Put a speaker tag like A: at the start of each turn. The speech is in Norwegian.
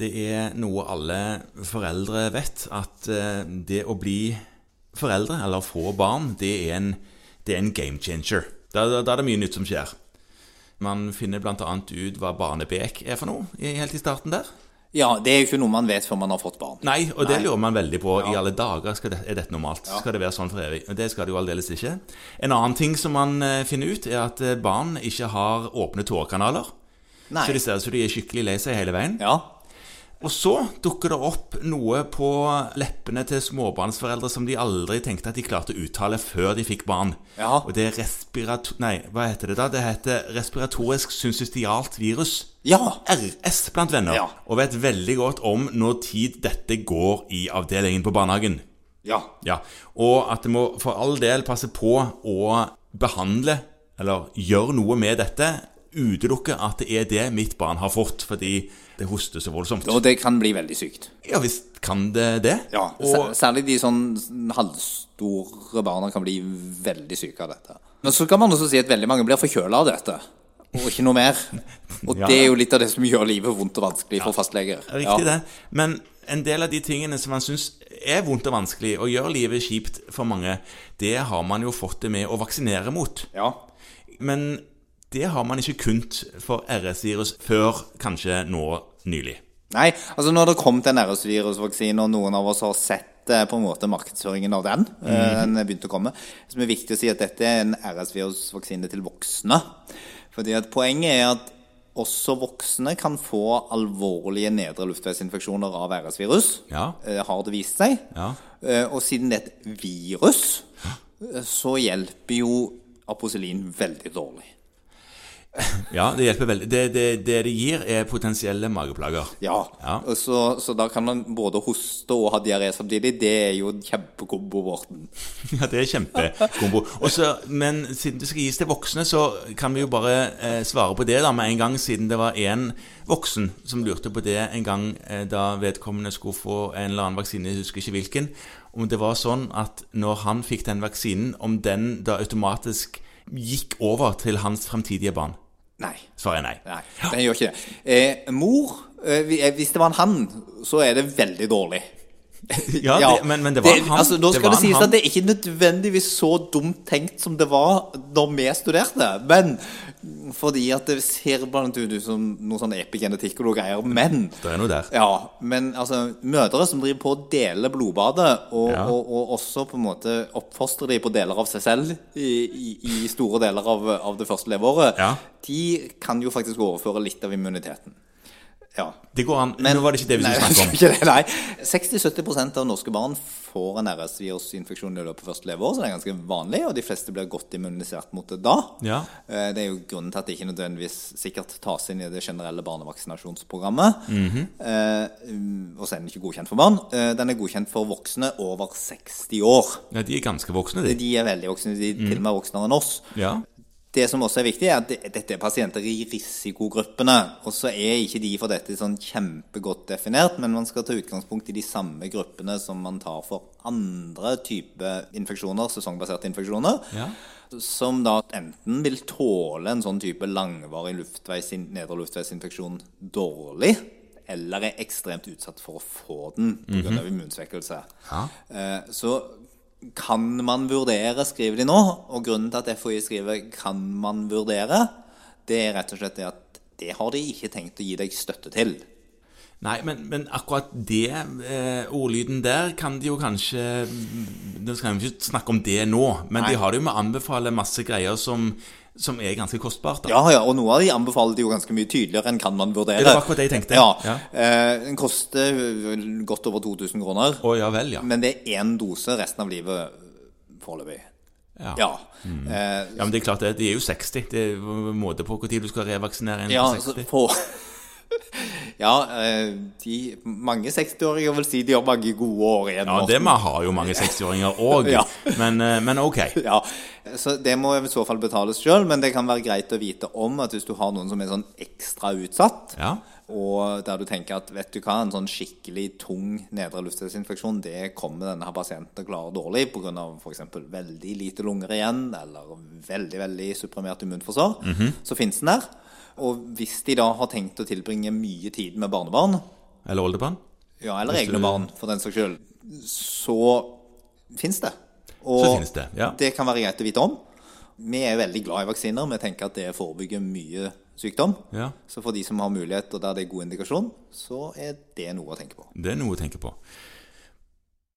A: Det er noe alle foreldre vet, at eh, det å bli foreldre, eller få barn, det er en, det er en game changer. Da, da, da er det mye nytt som skjer. Man finner bl.a. ut hva barnebek er for noe, i- helt i starten der.
B: Ja, det er jo ikke noe man vet før man har fått barn.
A: Nei, og det lurer man veldig på. I alle dager skal det, er dette normalt. Skal det være sånn for evig? Og Det skal det jo aldeles ikke. En annen ting som man eh, finner ut, er at eh, barn ikke har åpne tårekanaler.
B: Nei.
A: Så det ser ut som de er skikkelig lei seg hele veien.
B: Ja.
A: Og så dukker det opp noe på leppene til småbarnsforeldre som de aldri tenkte at de klarte å uttale før de fikk barn.
B: Ja.
A: Og det er respirato... Nei, hva heter det da? Det heter respiratorisk syncystialt virus.
B: Ja.
A: RS blant venner.
B: Ja.
A: Og vet veldig godt om når tid dette går i avdelingen på barnehagen.
B: Ja.
A: Ja, og at det må for all del passe på å behandle, eller gjøre noe med dette, utelukke at det er det mitt barn har fått, fordi det hoster så voldsomt.
B: Og det kan bli veldig sykt.
A: Ja visst kan det det.
B: Ja.
A: Og,
B: Sær- Særlig de sånn halvstore barna kan bli veldig syke av dette. Men så kan man også si at veldig mange blir forkjøla av dette. Og ikke noe mer. Og
A: Ja.
B: det er jo litt av det som gjør livet vondt og vanskelig for fastleger.
A: riktig det. Men en del av de tingene som man syns er vondt og vanskelig, og gjør livet kjipt for mange, det har man jo fått det med å vaksinere mot.
B: Ja.
A: Men det har man ikke kunnet for RS-virus før kanskje nå nylig.
B: Nei, altså når det kom til en RS-virusvaksine, og noen av oss har sett eh, på en måte markedsføringen av den, eh, den begynte å komme, som er viktig å si at dette er en RS-virusvaksine til voksne. Fordi at poenget er at også voksne kan få alvorlige nedre luftveisinfeksjoner av RS-virus,
A: Ja.
B: eh, har det vist seg.
A: Ja.
B: Eh, Og siden det er et virus, eh, så hjelper jo aposelin veldig dårlig.
A: Ja, det hjelper veldig. Det det, det, det gir, er potensielle mageplager.
B: Ja,
A: Ja.
B: og Så, så da kan man både hoste og ha diaré samtidig. Det er jo en kjempekombo, Morten.
A: Ja, det er kjempekombo. Og så- Men siden det skal gis til voksne, så kan vi jo bare eh, svare på det da med en gang, siden det var én voksen som lurte på det en gang eh, da vedkommende skulle få en eller annen vaksine, jeg husker ikke hvilken, om det var sånn at når han fikk den vaksinen, om den da automatisk gikk over til hans fremtidige barn.
B: Nei.
A: Svaret er nei.
B: nei, den gjør ikke det. Eh, mor, eh, vi- eh, hvis det var en han, så er det veldig dårlig.
A: Ja, Det, men, men det var han.
B: Altså, da skal det,
A: var en
B: sies
A: han.
B: at det er ikke nødvendigvis så dumt tenkt som det var da vi studerte. Men fordi at det ser blant annet ut som noe sånn epigenetikk og noe greier. Men
A: Det er noe der.
B: Ja, men altså, mødre som driver på å dele blodbadet, og,
A: Ja.
B: og, og også på en måte oppfostrer de på deler av seg selv i, i, i store deler av, av det første leveåret,
A: Ja.
B: de kan jo faktisk overføre litt av immuniteten. Ja.
A: Det går an. Nå var det ikke det vi
B: Nei,
A: skulle snakke om.
B: ikke det, Nei. 60-70 av norske barn får en RS-virusinfeksjon i løpet av første leveår, så det er ganske vanlig, og de fleste blir godt immunisert mot det da.
A: Ja.
B: Eh, Det er jo grunnen til at det ikke nødvendigvis sikkert tas inn i det generelle barnevaksinasjonsprogrammet.
A: Mhm.
B: Eh, um, og så er den ikke godkjent for barn. Eh, Den er godkjent for voksne over 60 år.
A: Ja, de er ganske voksne, de.
B: De er veldig voksne, de er til og med voksnere enn oss.
A: Ja.
B: Det som også er viktig, er at det- dette er pasienter i risikogruppene. Og så er ikke de for dette sånn kjempegodt definert, men man skal ta utgangspunkt i de samme gruppene som man tar for andre type infeksjoner, sesongbaserte infeksjoner.
A: Ja.
B: Som da enten vil tåle en sånn type langvarig luftveis, nedre luftveisinfeksjon dårlig, eller er ekstremt utsatt for å få den pga. av immunsvekkelse.
A: Mhm. Ja.
B: Eh, Så kan man vurdere, skriver de nå, og grunnen til at FHI skriver 'kan man vurdere', det er rett og slett det at det har de ikke tenkt å gi deg støtte til.
A: Nei, men, men akkurat det eh, ordlyden der kan de jo kanskje Nå skal vi ikke snakke om det nå, men de har det jo med å anbefale masse greier som, som er ganske kostbart. Da.
B: Ja, ja, og noe av de anbefaler de jo ganske mye tydeligere enn 'kan man vurdere'.
A: Det var akkurat det jeg tenkte.
B: Ja,
A: Ja.
B: eh, Den koster vel godt over 2000 kroner,
A: Å ja vel, ja.
B: men det er én dose resten av livet foreløpig.
A: Ja. Mm.
B: Ja. Eh,
A: Ja, men det er klart det. De er jo 60. Det er jo måte på hvor tid du skal revaksinere en
B: Ja,
A: på
B: altså
A: 60.
B: på Ja, eh, de, mange 60-åringer vil si de har mange gode år igjen.
A: Ja,
B: Morten.
A: det vi har jo mange 60-åringer òg,
B: Ja.
A: men, eh, men ok.
B: Ja, så det må i så fall betales sjøl, men det kan være greit å vite om at hvis du har noen som er sånn ekstra utsatt,
A: Ja.
B: og der du tenker at vet du hva, en sånn skikkelig tung nedre luftveisinfeksjon, det kommer denne her pasienten til å klare dårlig pga. f.eks. veldig lite lunger igjen, eller veldig, veldig supprimert immunforsvar,
A: Mhm.
B: så fins den der. Og hvis de da har tenkt å tilbringe mye tid med barnebarn,
A: eller oldebarn.
B: Ja, eller egne barn, for den saks skyld. Så fins det. Og
A: Så finnes det, ja.
B: det kan være greit å vite om. Vi er veldig glad i vaksiner. Vi tenker at det forebygger mye sykdom.
A: Ja.
B: Så for de som har mulighet, og der det er god indikasjon, så er det noe å tenke på.
A: Det er noe å tenke på.